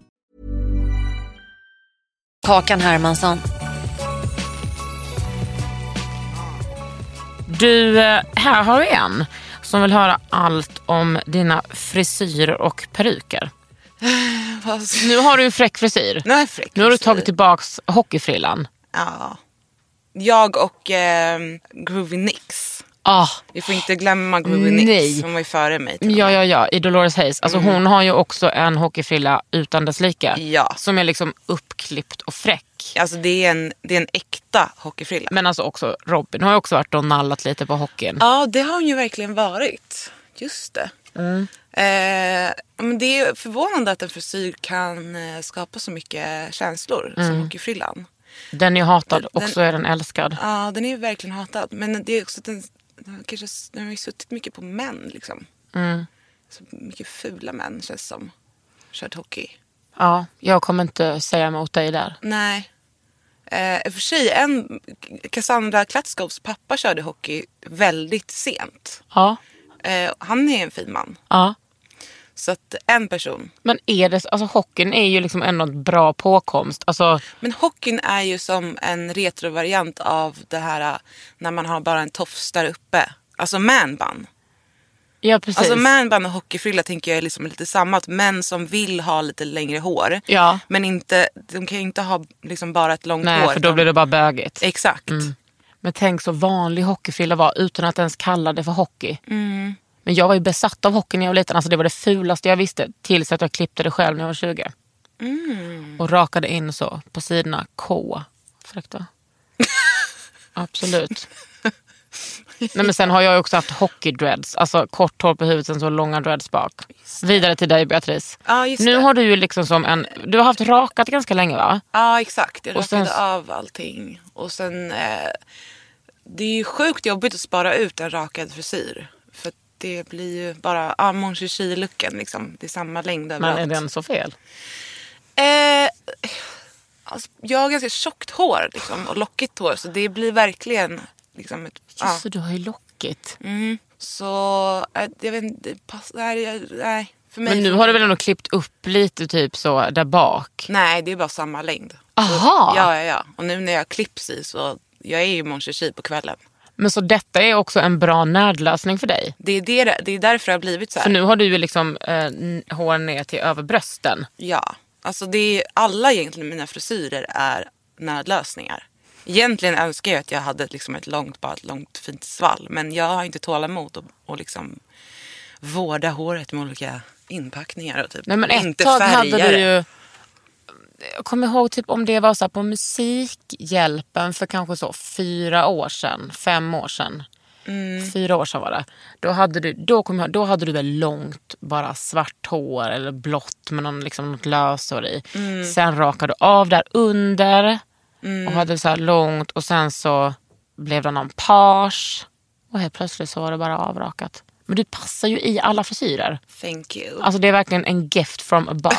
S1: Kakan Hermansson.
S3: Du, eh, här har vi en som vill höra allt om dina frisyrer och peruker.
S4: Vad ska-
S3: Nu har du en fräck frisyr.
S4: Nu har jag fräck
S3: Nu har du
S4: frisyr.
S3: tagit tillbaks hockeyfrillan.
S4: Ja. Jag och eh, ehm, Groovy Nix
S3: Ah,
S4: Vi får inte glömma Google
S3: Nej.
S4: Nix. Hon var ju före mig. typ. till och
S3: ja,
S4: med.
S3: ja, ja. I Dolores Hayes. Alltså,
S4: Mm.
S3: Hon har ju också en hockeyfrilla utan dess like.
S4: Ja.
S3: Som är liksom uppklippt och fräck.
S4: Alltså det är en, det är en äkta hockeyfrilla.
S3: Men alltså också Robin har ju också varit och nallat lite på hockeyn.
S4: Ja, det har hon ju verkligen varit. Just det.
S3: Mm.
S4: Eh, men det är förvånande att en frisyr kan eh, skapa så mycket känslor
S3: Mm.
S4: som hockeyfrillan.
S3: Den är ju hatad
S4: Den-
S3: och så är den älskad.
S4: Ja, den är ju verkligen hatad. Men det är också att den, den, har kanske, den har ju suttit mycket på män liksom. Så mycket fula män känns som. Kört hockey.
S3: Ja, jag kommer inte säga emot dig där.
S4: Nej. Eh, i och för sig, en, Cassandra Klatskovs pappa körde hockey väldigt sent.
S3: Ja,
S4: Eh, han är en fin man.
S3: ja.
S4: Så att en person.
S3: Men är det, alltså hockeyn är ju liksom ändå en bra påkomst. Alltså,
S4: Men hockeyn är ju som en retrovariant av det här eh, när man har bara en tofs där uppe. Alltså manbun.
S3: ja precis.
S4: Alltså manbun och hockeyfrilla tänker jag är liksom lite samma. Att män som vill ha lite längre hår.
S3: Ja.
S4: Men inte, de kan ju inte ha liksom bara ett långt
S3: Nej,
S4: hår.
S3: för då
S4: utan-
S3: blir Mm. det bara bögigt.
S4: Exakt.
S3: Men tänk så vanlig hockeyfrilla var utan att ens kalla det för hockey.
S4: Mm.
S3: Men jag var ju besatt av hockey när jag var liten. Alltså det var det fulaste jag visste. Tills att jag klippte det själv när jag var 20.
S4: Mm.
S3: Och rakade in så på sidorna K. Fräckt va? Absolut. Nej, men sen har jag ju också haft hockeydreads. Alltså kort hår på huvudet sen så långa dreads bak. Vidare till dig Beatrice.
S4: Ja, just
S3: nu
S4: det.
S3: har du ju liksom som en... Du har haft rakat ganska länge va?
S4: Ja, exakt. Jag
S3: Och sen-
S4: rakade av allting. Och sen... Eh, det är ju sjukt jobbigt att spara ut en rakad frisyr. För att det blir ju bara ah, Mon looken liksom. Det är samma längd
S3: Men är
S4: överallt.
S3: den så fel?
S4: Eh, alltså, jag har ganska tjockt hår liksom, och lockigt hår så det blir verkligen... Liksom, ett, ja.
S3: Just det, du har ju lockigt.
S4: mm. Så eh, jag vet inte, det pass, nej, jag- nej, för mig...
S3: Men nu har du väl ändå klippt upp lite typ så där bak?
S4: Nej, det är bara samma längd.
S3: Aha!
S4: Ja, ja, ja. Och nu när jag klipps i så... Jag är ju Mon på kvällen.
S3: Men så detta är också en bra nödlösning för dig?
S4: Det är, det, det är därför det har blivit så här.
S3: För nu har du ju liksom eh, n- hår ner till över brösten.
S4: Ja. Alltså det är, alla egentligen mina frisyrer är nödlösningar. Egentligen önskar jag att jag hade liksom ett långt, bara ett långt fint svall. Men jag har inte tålamod att och liksom vårda håret med olika inpackningar och typ
S3: Nej men ett
S4: inte
S3: tag
S4: färga
S3: hade du
S4: det.
S3: ju... Jag kommer ihåg typ om det var så här på Musikhjälpen för kanske så fyra år sedan, fem år sedan.
S4: Mm.
S3: Fyra år sedan var det. Då hade du, då kom jag, då hade du väl långt bara svart hår eller blått med någon, liksom, något löshår i.
S4: Mm.
S3: Sen rakade du av där under och hade så här långt och sen så blev det någon page och helt plötsligt så var det bara avrakat. Men du passar ju i alla frisyrer.
S4: Thank you.
S3: Alltså det är verkligen en gift from above.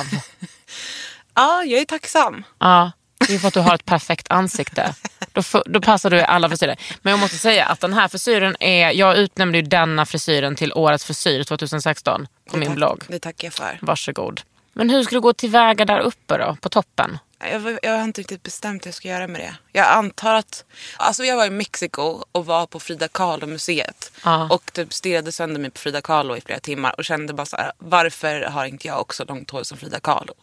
S4: Ja, jag är tacksam.
S3: ja, det är för att du har ett perfekt ansikte. Då, fu- då passar du i alla frisyrer. Men jag måste säga att den här frisyren är... Jag utnämnde ju denna frisyren till årets frisyr 2016 på min
S4: Tack-
S3: blogg.
S4: Det tackar jag för.
S3: Varsågod. Men hur ska du gå tillväga där uppe då, på toppen?
S4: Jag, jag har inte riktigt bestämt hur jag ska göra med det. Jag antar att... Alltså jag var i Mexiko och var på Frida Kahlo-museet.
S3: Ja.
S4: Och typ stirrade sönder mig på Frida Kahlo i flera timmar. Och kände bara så här, varför har inte jag också långt hår som Frida Kahlo?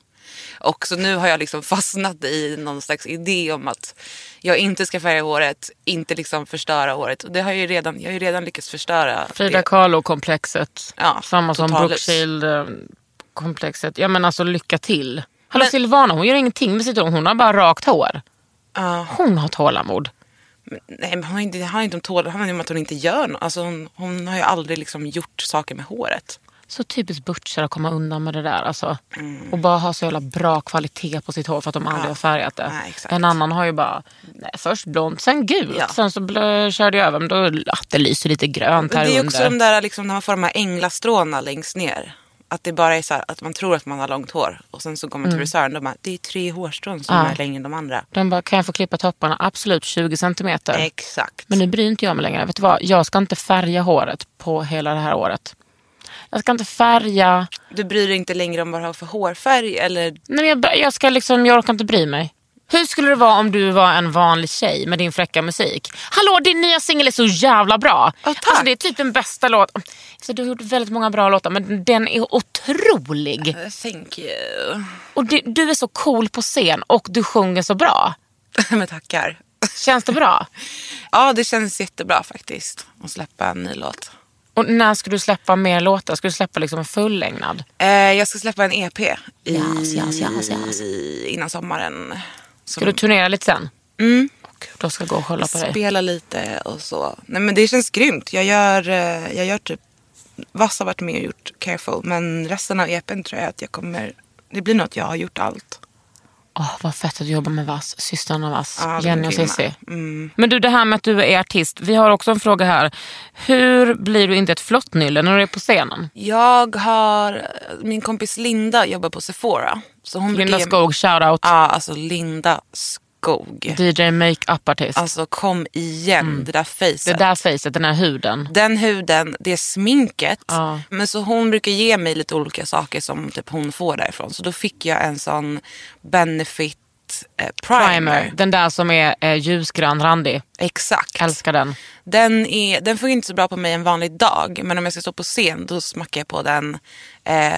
S4: Och så nu har jag liksom fastnat i någon slags idé om att jag inte ska färga håret, inte liksom förstöra håret. Och det har jag ju redan, jag har ju redan lyckats förstöra.
S3: Frida
S4: det.
S3: Kahlo-komplexet.
S4: Ja,
S3: Samma som
S4: totalus.
S3: Brookfield-komplexet. Ja men alltså lycka till. Hallå Silvana, hon gör ingenting med sitt hår. Hon har bara rakt hår.
S4: Ja.
S3: Hon har tålamod.
S4: Nej men hon har inte, det handlar inte om tålamod, det handlar om att hon inte gör något. Alltså hon, hon har ju aldrig liksom gjort saker med håret.
S3: Så typiskt butcher att komma undan med det där. Alltså.
S4: Mm.
S3: Och bara ha så jävla bra kvalitet på sitt hår för att de aldrig har färgat det.
S4: Nej, exakt.
S3: en annan har ju bara, nej, först blont, sen gult,
S4: Ja.
S3: sen så blö, körde jag över. Men då, ah, det lyser lite grönt
S4: Men
S3: här
S4: det är
S3: under.
S4: också de där liksom, när man får de här änglastråna längst ner. Att det bara är så här, att man tror att man har långt hår och sen så går
S3: Mm.
S4: man till frisören och bara, det är tre hårstrån som
S3: Ja.
S4: är längre än de andra.
S3: De bara, kan jag få klippa topparna? Absolut 20 centimeter.
S4: Exakt.
S3: Men nu bryr inte jag mig längre. Vet du vad? Jag ska inte färga håret på hela det här året. Jag ska inte färga.
S4: Du bryr dig inte längre om vad du har för hårfärg eller
S3: Nej, men jag, jag, ska liksom, jag orkar inte bry mig. Hur skulle det vara om du var en vanlig tjej med din fräcka musik? Hallå, din nya singel är så jävla bra.
S4: Ja, tack.
S3: Alltså, det är typ den bästa låten. Så du har gjort väldigt många bra låtar, men den är otrolig.
S4: thank you.
S3: Och du, du är så cool på scen och du sjunger så bra.
S4: Men tackar.
S3: Känns det bra?
S4: Ja, det känns jättebra faktiskt att släppa en ny låt.
S3: Och när ska du släppa mer låtar? Ska du släppa liksom en fullängd?
S4: Eh, jag ska släppa en EP i,
S3: Yes, yes, yes, yes.
S4: innan sommaren. Som
S3: Ska du turnera lite sen?
S4: Mm.
S3: Åh, Gud, jag ska gå och kolla på dig.
S4: spela lite och så. Nej men det känns grymt. Jag gör, eh, jag gör typ, Vass har varit med och gjort Careful men resten av EPn tror jag att jag kommer, det blir nog att jag har gjort allt.
S3: Åh, vad fett att du jobbar med Vass, systrarna Vass,
S4: Ja, de är
S3: Jenny och
S4: grymma.
S3: Cissi.
S4: Mm.
S3: Men du, det här med att du är artist. Vi har också en fråga här. Hur blir du inte ett flottnylle när du är på scenen?
S4: Jag har, min kompis Linda jobbar på Sephora. Så hon
S3: Linda
S4: blev-
S3: Skog, shoutout.
S4: Ja, alltså Linda Skog.
S3: DJ makeup artist.
S4: Alltså kom igen, det där fejset.
S3: Mm. det där facet, den här huden.
S4: den huden, det sminket.
S3: Ja.
S4: Men så hon brukar ge mig lite olika saker som typ hon får därifrån. Så då fick jag en sån benefit eh, primer.
S3: Primer. Den där som är eh, ljusgrön, randig.
S4: Exakt.
S3: Älskar den.
S4: Den, är, den funkar inte så bra på mig en vanlig dag. Men om jag ska stå på scen då smackar jag på den. Eh,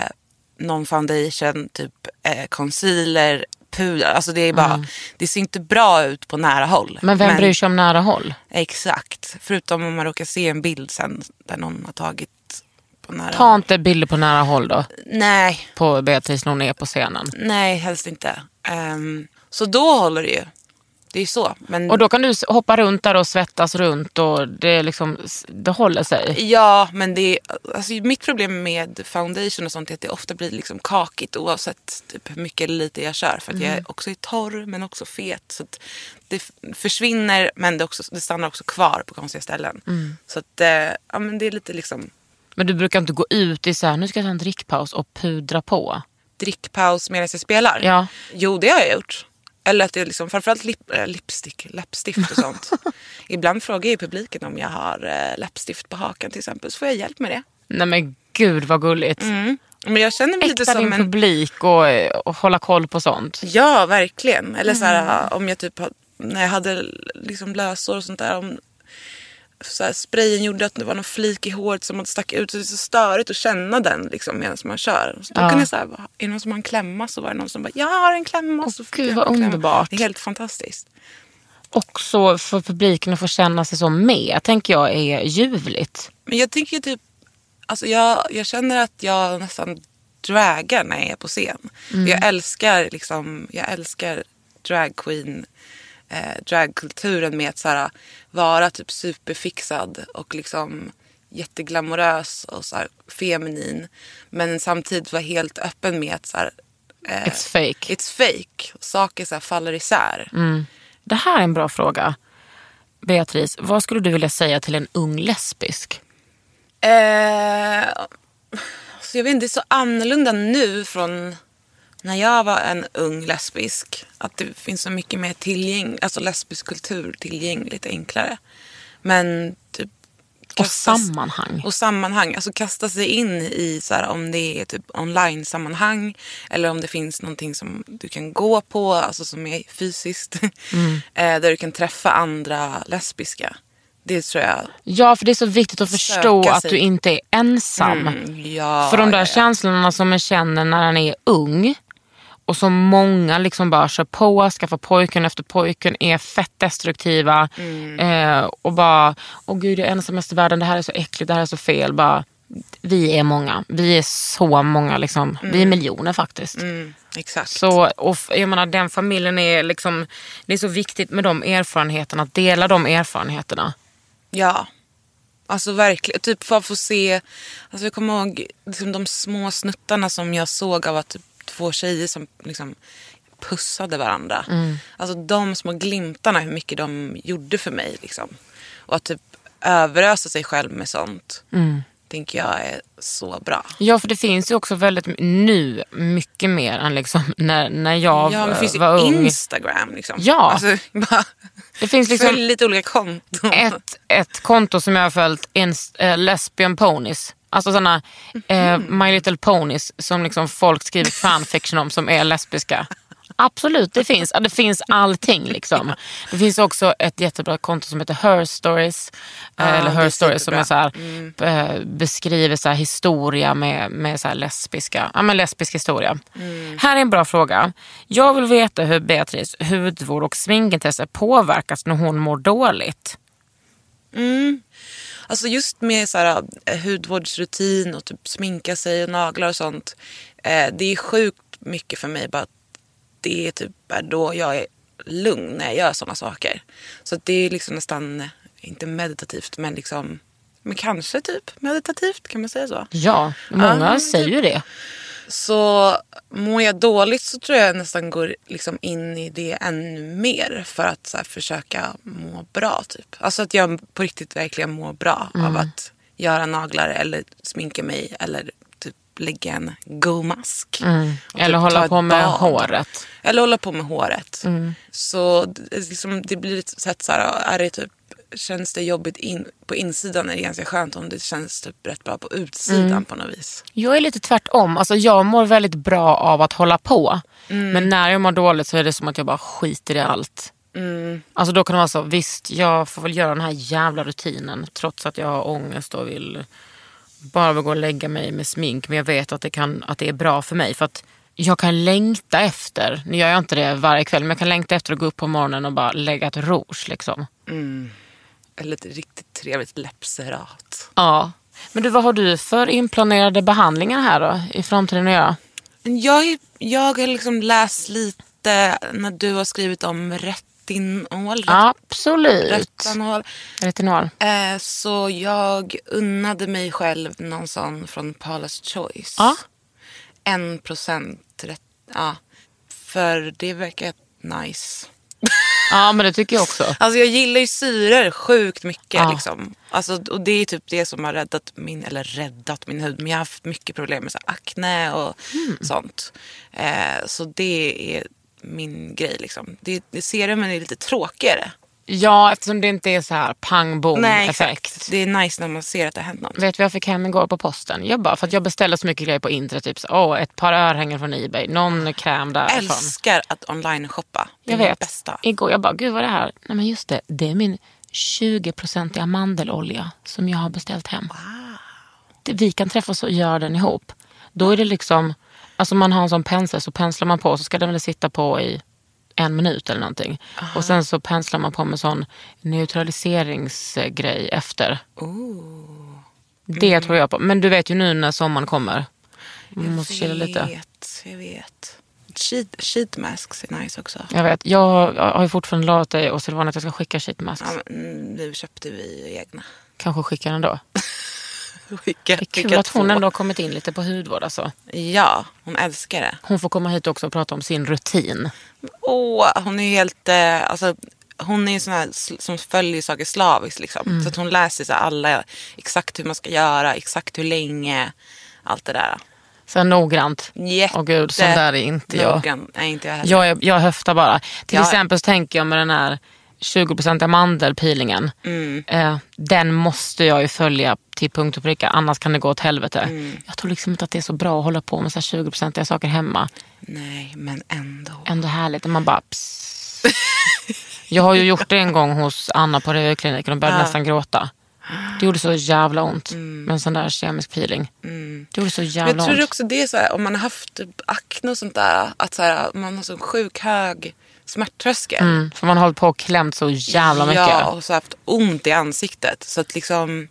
S4: någon foundation, typ eh, concealer, puder. Alltså det är bara, det ser inte bra ut på nära håll.
S3: Mm. Men vem bryr sig om nära håll?
S4: Exakt. Förutom om man råkar se en bild sen där någon har tagit på nära
S3: Ta inte bilder på nära håll då,
S4: Nej,
S3: på Beatrice när hon är på scenen.
S4: nej helst inte. Ehm, så då håller det ju. Det är så. Men
S3: Och då kan du s- hoppa runt där och svettas runt och det, liksom, s- det håller sig.
S4: Ja, men det alltså, mitt problem med foundation och sånt är att det ofta blir liksom kakigt oavsett typ, hur mycket eller lite jag kör. För att
S3: Mm.
S4: jag också är torr men också fet. Så att det f- försvinner men det, också, det stannar också kvar på konstiga ställen.
S3: Mm.
S4: Så att, eh, ja, men det är lite liksom
S3: Men du brukar inte gå ut i så här, nu ska jag ta en drickpaus och pudra på.
S4: drickpaus medan jag spelar.
S3: Ja.
S4: Jo, det har jag gjort. Eller att det är liksom, framförallt lip, eh, lipstick, läppstift och sånt. Ibland frågar jag ju publiken om jag har eh, läppstift på hakan till exempel. Så får jag hjälp med det.
S3: Nej men gud vad gulligt.
S4: Mm. Men jag känner mig lite
S3: Äkta
S4: som
S3: din
S4: en...
S3: publik och, eh, och hålla koll på sånt.
S4: Ja, verkligen. Eller så här,
S3: Mm.
S4: om jag typ har- när jag hade liksom lösår och sånt där. Om, så här, sprayen gjorde att det var någon flik i håret som stack ut. Så det är så störigt att känna den liksom, medan man kör. Så då
S3: Ja.
S4: kan jag så här, bara, är det någon som har en klämma? Så var det någon som bara, jag har en klämma.
S3: Åh,
S4: så fick
S3: gud,
S4: jag
S3: vad
S4: en klämma.
S3: underbart.
S4: Det är helt fantastiskt.
S3: Också för publiken att få känna sig som med, tänker jag är ljuvligt.
S4: Men jag tänker ju typ, alltså jag, jag känner att jag nästan dragar när jag är på scen. Jag älskar liksom, jag älskar drag queen, eh, dragkulturen med att så här, vara typ superfixad och liksom jätteglamorös och så här, feminin. Men samtidigt vara helt öppen med att så här, eh,
S3: It's fake.
S4: it's fake. Saker så här, faller isär.
S3: Det här är en bra fråga. Beatrice, vad skulle du vilja säga till en ung lesbisk?
S4: Eh, så jag vet inte, det är så annorlunda nu från när jag var en ung lesbisk. Att det finns så mycket mer tillgäng, alltså lesbisk kultur tillgängligt enklare. Men typ...
S3: Och
S4: kasta-
S3: sammanhang.
S4: Och sammanhang. Alltså kasta sig in i så här, om det är typ online-sammanhang eller om det finns någonting som du kan gå på, alltså som är fysiskt.
S3: Mm.
S4: Eh, där du kan träffa andra lesbiska. Det tror jag...
S3: Ja, för det är så viktigt att förstå
S4: Söka
S3: att
S4: sig. Mm.
S3: du inte är ensam.
S4: ja,
S3: För de där
S4: ja, ja.
S3: känslorna som man känner när han är ung och som många liksom bara kör på, skaffar pojken efter pojken, är fett destruktiva
S4: Mm.
S3: eh, och bara, åh gud jag är ensamast i världen, det här är så äckligt, det här är så fel. Bara, vi är många, vi är så många, liksom. vi är miljoner faktiskt.
S4: Mm, exakt.
S3: Så, och f- jag menar, den familjen är liksom, det är så viktigt med de erfarenheterna, att dela de erfarenheterna.
S4: Ja. Alltså verkligen. Typ för att få se. Alltså jag kommer ihåg liksom, de små snuttarna som jag såg av att typ, två tjejer som liksom pussade varandra.
S3: Mm.
S4: Alltså de små glimtarna hur mycket de gjorde för mig. Liksom. Och att typ överösa sig själv med sånt.
S3: Mm.
S4: Tänker jag är så bra.
S3: Ja, för det finns ju också väldigt m- nu mycket mer än liksom när, när jag
S4: ja, men det
S3: eh,
S4: finns
S3: var
S4: ju
S3: ung.
S4: Instagram liksom.
S3: Ja.
S4: Alltså, bara,
S3: Det finns liksom-
S4: Följ lite olika konton.
S3: Ett, ett konto som jag har följt, ins, eh, Lesbian Ponies. Alltså sådana eh,
S4: Mhm.
S3: My Little Ponies som liksom folk skriver fanfiction om som är lesbiska. Absolut, det finns. Ja, Det finns allting. Liksom. Det finns också ett jättebra konto som heter Her Stories. eh, eller
S4: det är
S3: Her Stories som
S4: superbra. Mm.
S3: är så här, eh, beskriver så här historia med, med så här lesbiska, ja, men lesbisk historia.
S4: Mm.
S3: Här är en bra fråga. Jag vill veta hur Beatrice hudvård och sminkintresse påverkas när hon mår dåligt.
S4: Alltså just med så här, eh, hudvårdsrutin och typ sminka sig och naglar och sånt. Eh, det är sjukt mycket för mig bara att det är typ bara då jag är lugn när jag gör sådana saker. Så att det är liksom nästan, eh, inte meditativt men liksom, men kanske typ meditativt kan man säga så.
S3: Ja,
S4: Ja,
S3: många
S4: men typ-
S3: säger ju det.
S4: Så mår jag dåligt så tror jag nästan går liksom in i det ännu mer för att så här, försöka må bra. Typ. Alltså att jag på riktigt verkligen mår bra
S3: Mm.
S4: av att göra naglar eller sminka mig eller typ lägga en go-mask. Och
S3: Mm. Eller
S4: typ ta
S3: hålla
S4: ett
S3: på med
S4: bad.
S3: håret. Mm.
S4: Eller hålla på med håret. Så det, är liksom, det blir ett sätt så här, är det typ, känns det jobbigt in, på insidan är det ganska skönt om det känns typ rätt bra på utsidan
S3: Mm.
S4: på något vis.
S3: Jag är lite tvärtom. Alltså jag mår väldigt bra av att hålla på.
S4: Mm.
S3: Men när jag mår dåligt så är det som att jag bara skiter i allt.
S4: Mm.
S3: Alltså då kan det vara så, visst jag får väl göra den här jävla rutinen trots att jag har ångest och vill bara vill gå och lägga mig med smink. Men jag vet att det, kan, att det är bra för mig. För att jag kan längta efter, nu gör jag inte det varje kväll, men jag kan längta efter att gå upp på morgonen och bara lägga ett rouge. Liksom.
S4: Eller ett riktigt trevligt läppserat.
S3: Ja. Men du, vad har du för inplanerade behandlingar här då i framtiden att göra?
S4: Jag, är- jag har liksom läst lite när du har skrivit om retinol.
S3: Absolut.
S4: Retanol.
S3: Retinol.
S4: Eh, så jag unnade mig själv någon sån från Paula's Choice.
S3: Ja.
S4: En procent ret- ja. För det verkar nice.
S3: Ja, men det tycker jag också.
S4: Alltså jag gillar ju syror sjukt mycket.
S3: Ja.
S4: Liksom. Alltså, och det är typ det som har räddat min, eller räddat min hud. Men jag har haft mycket problem med så här, akne och
S3: Mm.
S4: sånt. Eh, så det är min grej. Liksom. Det, det serumen är lite tråkigare.
S3: Ja, eftersom det inte är så här pang bom effekt.
S4: Det är nice när man ser att det har hänt något.
S3: Vet du vad jag fick hem igår på posten? Jag bara, för att jag beställde så mycket grejer på internet. Typ så, åh, ett par örhängen från Ebay, någon kräm därifrån.
S4: Älskar att online-shoppa. Det är
S3: jag
S4: det
S3: vet.
S4: bästa.
S3: Igår jag bara, gud vad är det här? Nej men just det, det är min 20-procentiga mandelolja som jag har beställt hem. Det, vi kan träffas och göra den ihop. Då är det liksom, alltså man har en sån pensel så penslar man på så ska den väl sitta på i en minut eller någonting. Och sen så penslar man på med sån neutraliseringsgrej efter. Det
S4: Mm.
S3: tror jag på. Men du vet ju nu när sommaren kommer. Man måste chilla lite.
S4: Jag vet. Jag vet. Sheet, sheet masks är nice också.
S3: Jag vet, jag har ju fortfarande lovat dig och Silvana att jag ska skicka sheetmasks.
S4: Ja, men, mm, nu köpte vi egna.
S3: Kanske skicka den då.
S4: Skicka,
S3: Det är kul att hon ändå har kommit in lite på hudvård. Alltså.
S4: Ja, hon älskar det.
S3: Hon får komma hit också och prata om sin rutin.
S4: Åh, hon är ju helt... Eh, alltså, hon är ju sån här sl- som följer saker slaviskt. Liksom.
S3: Mm.
S4: Så att hon läser sig alla, exakt hur man ska göra, exakt hur länge. Allt det där.
S3: Sen noggrant.
S4: Jätte...
S3: Åh gud, sån där är inte jag.
S4: noggrann. Nej, inte jag heller.
S3: Jag, är, jag höftar bara. Till
S4: Ja.
S3: exempel så tänker jag med den här 20% mandelpeelingen.
S4: Mm.
S3: Eh, den måste jag ju följa till punkt och pricka, annars kan det gå åt helvete.
S4: Mm.
S3: Jag tror liksom inte att det är så bra att hålla på med så här 20% saker hemma.
S4: Nej, men ändå.
S3: ändå härligt. Man bara... Pss. Jag har ju gjort det en gång hos Anna på revkliniken och började nästan gråta. Det gjorde så jävla ont med en sån där kemisk peeling. Det gjorde så
S4: Mm. Men
S3: jävla
S4: jag tror
S3: ont.
S4: också det är så här, om man har haft typ akne och sånt där, att så här, man har så sjuk hög smärttröskel.
S3: Mm, för man har hållit på och klämt så jävla mycket.
S4: Ja, och så haft ont i ansiktet. Så att liksom,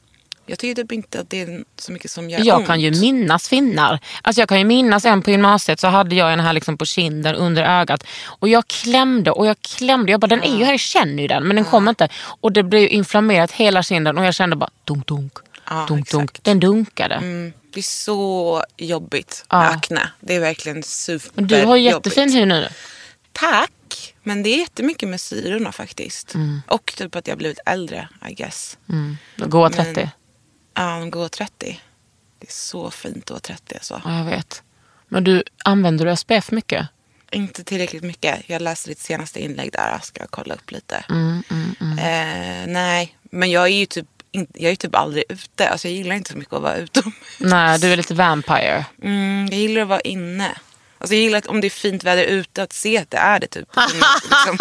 S4: jag tycker typ inte att det är så mycket som gör
S3: Jag
S4: ont.
S3: kan ju minnas finnar. Alltså jag kan ju minnas en på gymnasiet så hade jag en här liksom på kinden under ögat. Och jag klämde och jag klämde. Jag bara den är ju här, jag känner ju den men den kom inte. Och det blev ju inflammerat hela kinden och jag kände bara dunk dunk.
S4: Ja,
S3: dunk, dunk.
S4: exakt.
S3: Den dunkade.
S4: Mm, det är så jobbigt
S3: Ja.
S4: med akne. Det är verkligen
S3: Men
S4: superjobbigt.
S3: du har ju jättefin hy nu.
S4: Tack! Men det är jättemycket med syrorna faktiskt.
S3: Mm.
S4: Och typ att jag har blivit äldre, I guess.
S3: Gå 30.
S4: Men- Ja, um, gå 30. Det är så fint att vara 30 alltså.
S3: Ja, jag vet. Men du, använder du SPF mycket?
S4: Inte tillräckligt mycket. Jag läste ditt senaste inlägg där. Ska jag kolla upp lite.
S3: Mm,
S4: Eh, nej, men jag är ju typ, in- jag är typ aldrig ute. Alltså jag gillar inte så mycket att vara utomhus.
S3: Nej, du är lite vampire.
S4: Mm, jag gillar att vara inne. Alltså jag gillar att om det är fint väder ute att se att det är det typ. Kunna Liksom,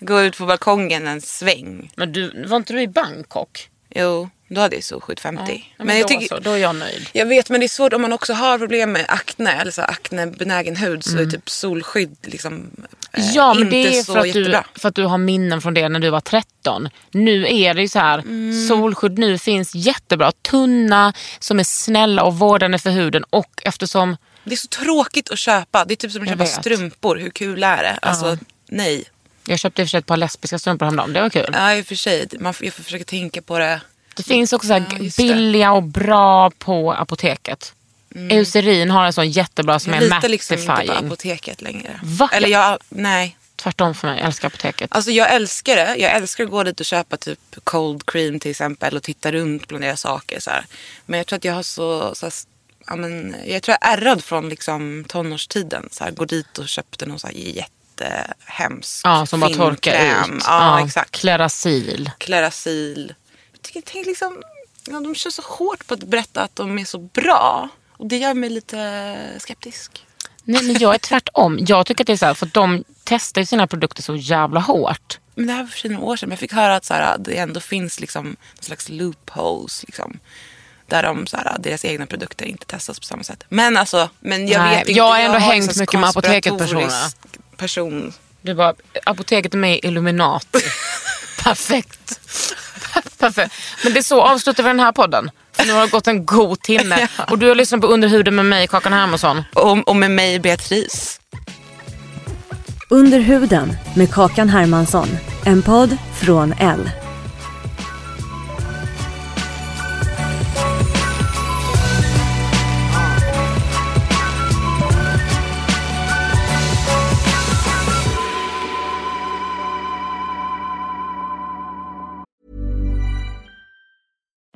S4: gå ut på balkongen en sväng.
S3: Men du, var inte du i Bangkok?
S4: Jo, Då hade jag solskydd 50.
S3: Men, men jag
S4: jag
S3: då,
S4: tycker-
S3: så, då är jag nöjd.
S4: Jag vet men det är svårt om man också har problem med akne eller så här aknebenägen hud så är typ solskydd liksom eh,
S3: Mm. Ja, men
S4: inte
S3: det är
S4: så
S3: för att, du,
S4: jättebra.
S3: för att du har minnen från det när du var 13. Nu är det ju så här,
S4: Mm.
S3: solskydd nu finns jättebra. Tunna, som är snälla och vårdande för huden och eftersom
S4: Det är så tråkigt att köpa. Det är typ som att
S3: Jag
S4: köpa
S3: vet.
S4: strumpor. Hur kul är det? Alltså nej.
S3: jag köpte i och för sig ett par lesbiska strumpor häromdagen, det var kul.
S4: Ja i och för sig. Man, får- jag får försöka tänka på det.
S3: Det finns också så här
S4: Ja, just det.
S3: billiga och bra på apoteket. Eucerin har en sån jättebra som
S4: Jag
S3: är
S4: litar Mm. liksom inte på
S3: mattifying.
S4: apoteket längre.
S3: Va?
S4: Eller jag, nej.
S3: Tvärtom för mig, jag älskar apoteket.
S4: Alltså jag älskar det. Jag älskar att gå dit och köpa typ cold cream till exempel och titta runt bland deras saker. Så här. Men jag tror att jag har så, så här, ja, men, jag tror jag är ärrad från liksom, tonårstiden. Så här, gå dit och köpte någon så här jättehemsk
S3: ja, som bara torkar
S4: finkräm.
S3: ut.
S4: Ja, exakt.
S3: Clarasil.
S4: Clarasil. Jag tycker, tänk liksom, ja, de kör så hårt på att berätta att de är så bra. Och det gör mig lite skeptisk.
S3: Nej, men jag är tvärtom. Jag tycker att det är så här, för att de testar ju sina produkter så jävla hårt.
S4: Men det här var för sig några år sedan. Men jag fick höra att så här, det ändå finns liksom någon slags loopholes. Liksom, där de, så här, deras egna produkter inte testas på samma sätt. Men alltså, men jag
S3: Nej,
S4: vet inte.
S3: jag har ändå
S4: har en
S3: hängt
S4: slags
S3: mycket med
S4: konspiratorisk
S3: apoteket-personerna.
S4: Person.
S3: Du bara, apoteket är med i Illuminati. Perfekt. Perfekt. Men det är så avslutar vi den här podden. För nu har det gått en god timme. Och du har lyssnat på Under huden med mig, Kakan Hermansson.
S4: Och, och med mig Beatrice.
S1: Under huden med Kakan Hermansson. En podd från L.